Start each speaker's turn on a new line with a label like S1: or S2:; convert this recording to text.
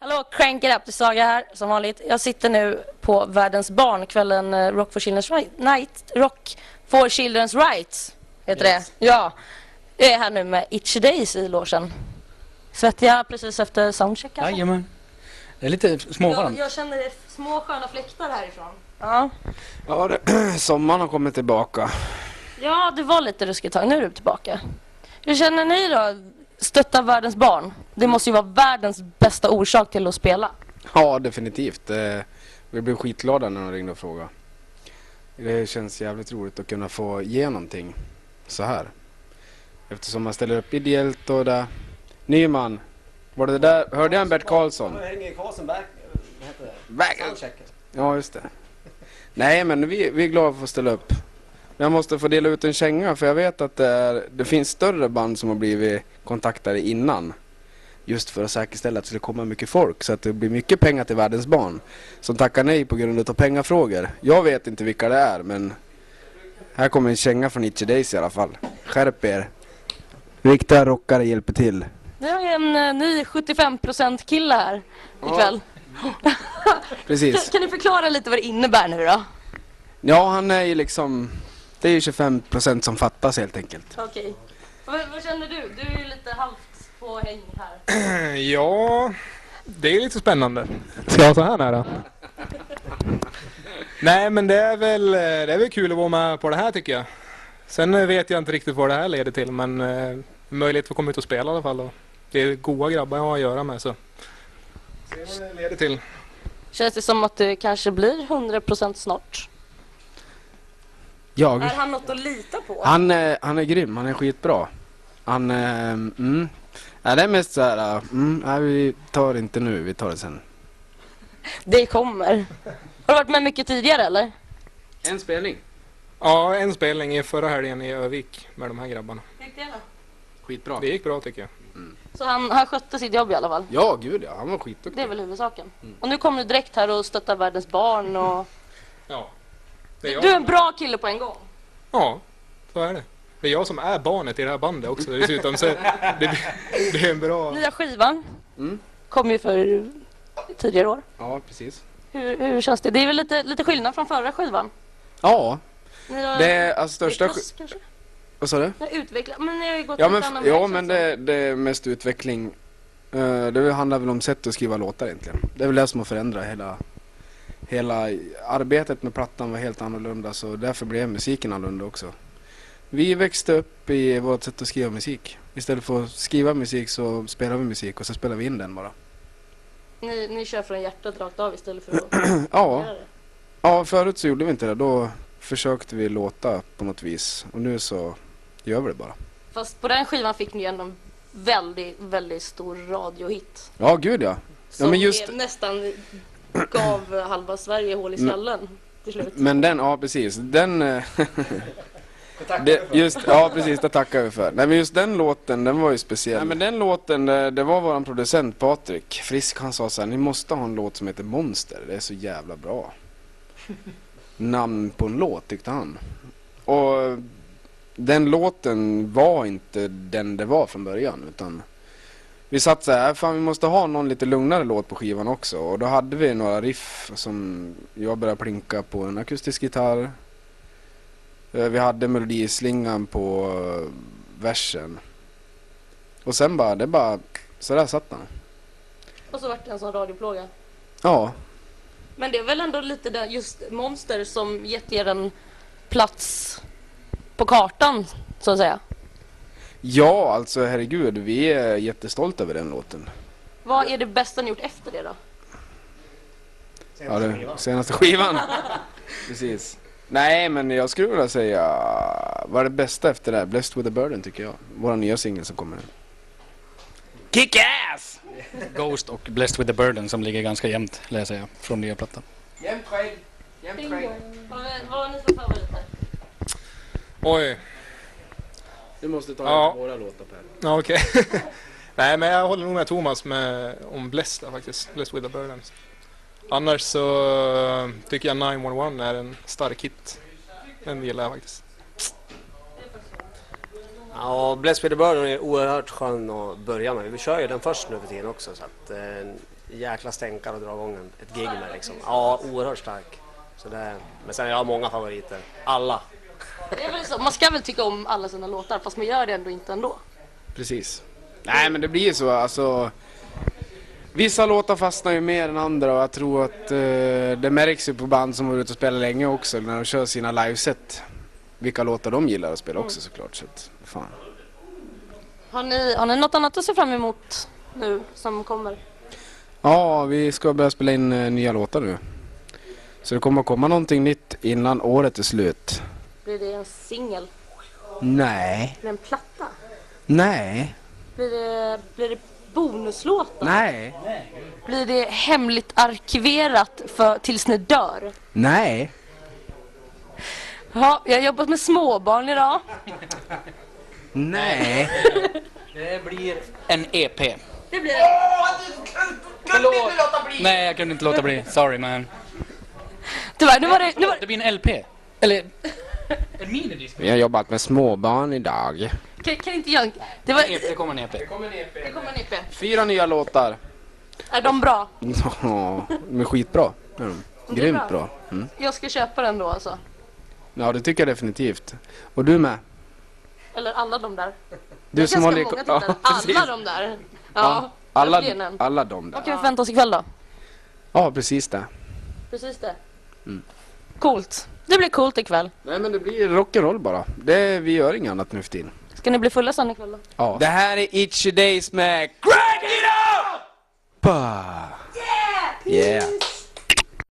S1: Hallå, crank it up, det är Saga här som vanligt. Jag sitter nu på Världens barn, kvällen eh, Rock for Children's Right, Night, Rock for Children's Rights heter
S2: Yes.
S1: det. Ja, jag är här nu med Itchy Days i logen. Svettiga precis efter soundcheck kanske?
S2: Jajamän. Det är lite småvarmt.
S1: känner det små sköna fläktar härifrån. Ja.
S3: Ja, det, sommaren har kommit tillbaka.
S1: ja, det var lite ruskigt tag. Nu är du tillbaka. Hur känner ni då? Stötta Världens barn. Det måste ju vara världens bästa orsak till att spela.
S3: Ja, definitivt. Eh, Vi blev skitglada när de ringde och frågade. Det känns jävligt roligt att kunna få ge någonting så här. Eftersom man ställer upp ideellt och det. Nyman, var det där? Hörde jag en Bert Karlsson?
S4: Hänger Karlsson back... Vad heter det?
S3: Back- Ja, just det. Nej, men vi, vi är glada för att ställa upp. Men jag måste få dela ut en känga för jag vet att det, är, det finns större band som har blivit kontaktade innan. Just för att säkerställa att det skulle komma mycket folk så att det blir mycket pengar till Världens barn. Som tackar nej på grund av pengafrågor. Jag vet inte vilka det är men här kommer en känga från Itchy Days i alla fall. Skärp er! Riktiga rockare hjälper till.
S1: Nu har jag en eh, ny 75% kille här ikväll. Kan,
S3: Precis.
S1: kan ni förklara lite vad det innebär nu då?
S3: Ja, han är ju liksom... Det är ju 25% som fattas helt enkelt.
S1: Okej. Vad, vad känner du? Du är ju lite halvt på häng här.
S5: Ja, det är lite spännande. Ska jag vara så här nära? Nej, men det är, väl, det är väl kul att vara med på det här tycker jag. Sen eh, vet jag inte riktigt vad det här leder till, men eh, möjlighet för att komma ut och spela i alla fall. Och det är goa grabbar jag har att göra med, så se vad det leder till.
S1: Känns det som att du kanske blir 100% snart?
S3: Jag?
S1: han något att lita på?
S3: Han, eh, han är grym, han är skitbra. Han, eh, mm. Ja, det är mest så här, eh, mm, nej vi tar det inte nu, vi tar det sen.
S1: Det kommer. Har du varit med mycket tidigare eller?
S3: En spelning.
S5: Ja, en spelning i förra helgen i Övik med de här grabbarna.
S1: Gick det
S3: Skitbra.
S5: Det gick bra tycker jag.
S1: Så han, han skötte sitt jobb i alla fall?
S3: Ja, gud ja, han var
S1: Det är
S3: skitduktig.
S1: väl huvudsaken. Och nu kommer du direkt här och stöttar världens barn och...
S5: Ja, det är
S1: Du är
S5: jag.
S1: en bra kille på en gång.
S5: Ja, så är det. Det är jag som är barnet i det här bandet också dessutom. Så det, det är en bra...
S1: Nya skivan
S3: Mm.
S1: kom ju för tidigare år.
S3: Ja, precis.
S1: Hur, hur känns det? Det är väl lite, lite skillnad från förra skivan?
S3: Ja,
S1: Ni har
S3: det är alltså största...
S1: utvecklats,
S3: sk-
S1: kanske?
S3: Vad sa du?
S1: Ni har utvecklat, men ni har ju gått
S3: Ja
S1: lite
S3: men,
S1: annan
S3: f-
S1: väg,
S3: ja,
S1: känns
S3: men
S1: det
S3: det, det är mest utveckling. Eh, Det handlar väl om sätt att skriva låtar egentligen. Det är väl det som har förändrat hela... Hela arbetet med plattan var helt annorlunda så därför blev musiken annorlunda också. Vi växte upp i vårt sätt att skriva musik. Istället för att skriva musik så spelar vi musik och så spelar vi in den bara.
S1: som. Ni, ni kör från hjärtat rakt av istället för att
S3: Ja,
S1: göra det.
S3: ja, förut så gjorde vi inte det. Då försökte vi låta på något vis och nu så gör vi det bara.
S1: Fast på den skivan fick ni ju ändå en väldigt, väldigt stor radiohit.
S3: Ja, gud ja.
S1: Som
S3: men just-
S1: är- nästan gav halva Sverige hål i
S3: Men-
S1: skallen till slut.
S3: Men den, ja precis. Den... eh, det, just, ja precis, det tackar vi för. Nej men just den låten, den var ju speciell. Nej men den låten, det, det var våran producent Patrik Frisk, han sa så här, ni måste ha en låt som heter Monster, det är så jävla bra. Namn på en låt tyckte han. Och den låten var inte den det var från början utan vi satt så här, "Äh, fan vi måste ha någon lite lugnare låt på skivan också och då hade vi några riff som jag började plinka på en akustisk gitarr. Eh, Vi hade melodislingan på eh, versen. Och sen bara, det bara, så där satt den.
S1: Och så vart det en sån radioplåga.
S3: Ja,
S1: Men det är väl ändå lite där, just Monster som gett er en plats på kartan, så att säga.
S3: ja alltså herregud, vi är jättestolta över den låten.
S1: Vad är det bästa ni gjort efter det då?
S3: Ja, det, senaste skivan. Precis. Nej, men jag skulle vilja säga, vad är det bästa efter det här? Blessed with a burden tycker jag. Vår nya singel som kommer nu.
S2: Kick-ass! Ghost och Blessed with the Burden som ligger ganska jämnt, läser jag, från nya plattan.
S1: Vad var ni för favoriter?
S5: Oj.
S3: Du måste ta
S5: Ja.
S3: våra låtar Per.
S5: Ja, okej. Nej, men jag håller nog med Thomas med, om Blessed där faktiskt. Blessed with a burden. Annars så eh, tycker jag 911 är en stark hit. Den gillar jag faktiskt.
S4: Ja, Blessed with the Burden är oerhört skön att börja med. Vi kör ju den först nu för tiden också så att eh, en jäkla stänkare att dra igång en- ett gig med liksom. Ja, oerhört stark. Så det, men sen jag har många favoriter. Alla.
S1: Det är väl så. Man ska väl tycka om alla sina låtar fast man gör det ändå inte ändå.
S3: Precis. Nej men det blir ju så alltså. Vissa låtar fastnar ju mer än andra och jag tror att eh, det märks ju på band som varit ute och spelat länge också när de kör sina liveset. Vilka låtar de gillar att spela också såklart. Så att, fan.
S1: Har ni, har ni något annat att se fram emot nu som kommer?
S3: Ja, vi ska börja spela in eh, nya låtar nu. Så det kommer att komma någonting nytt innan året är slut.
S1: Blir det en singel?
S3: Nej.
S1: Blir det en platta?
S3: Nej.
S1: Blir det, blir det bonuslåtar?
S3: Nej.
S1: Blir det hemligt arkiverat för, tills ni dör?
S3: Nej.
S1: Ja, jag har jobbat med småbarn idag.
S3: Nej.
S2: Det blir en E EP.
S1: Det blir det.
S2: Förlåt! Nej, jag kunde inte låta bli. Sorry man.
S1: Tyvärr, nu var det... Nu var
S2: Det
S1: det.
S2: blir en LP. Eller... En minidisk.
S3: Vi har jobbat med småbarn idag.
S1: Kan, kan inte jag... Det, var,
S3: E
S2: Det E kommer en EP.
S1: det kommer en EP.
S3: Fyra nya låtar.
S1: Är de bra?
S3: Ja, de är skitbra. är de.
S1: är
S3: Grymt
S1: bra.
S3: bra. Mm.
S1: Jag ska köpa den då alltså.
S3: Ja, det tycker jag definitivt. Och du med.
S1: Eller alla de där.
S3: Du
S1: Ganska många
S3: i-
S1: tittare.
S3: precis.
S1: Alla de där. Ja.
S3: Ja, alla,
S1: det blir den.
S3: alla de där.
S1: Vad kan vi förvänta oss ikväll då?
S3: Ja, precis det.
S1: Precis det. Coolt. Det blir coolt ikväll.
S3: Nej, men det blir rock'n'roll bara. Det, vi gör inget annat nu för tiden.
S1: Ska ni bli fulla sen ikväll då?
S3: Ja. Det här är Itchy Days med Crack It Up! Bah. Yeah! Yeah!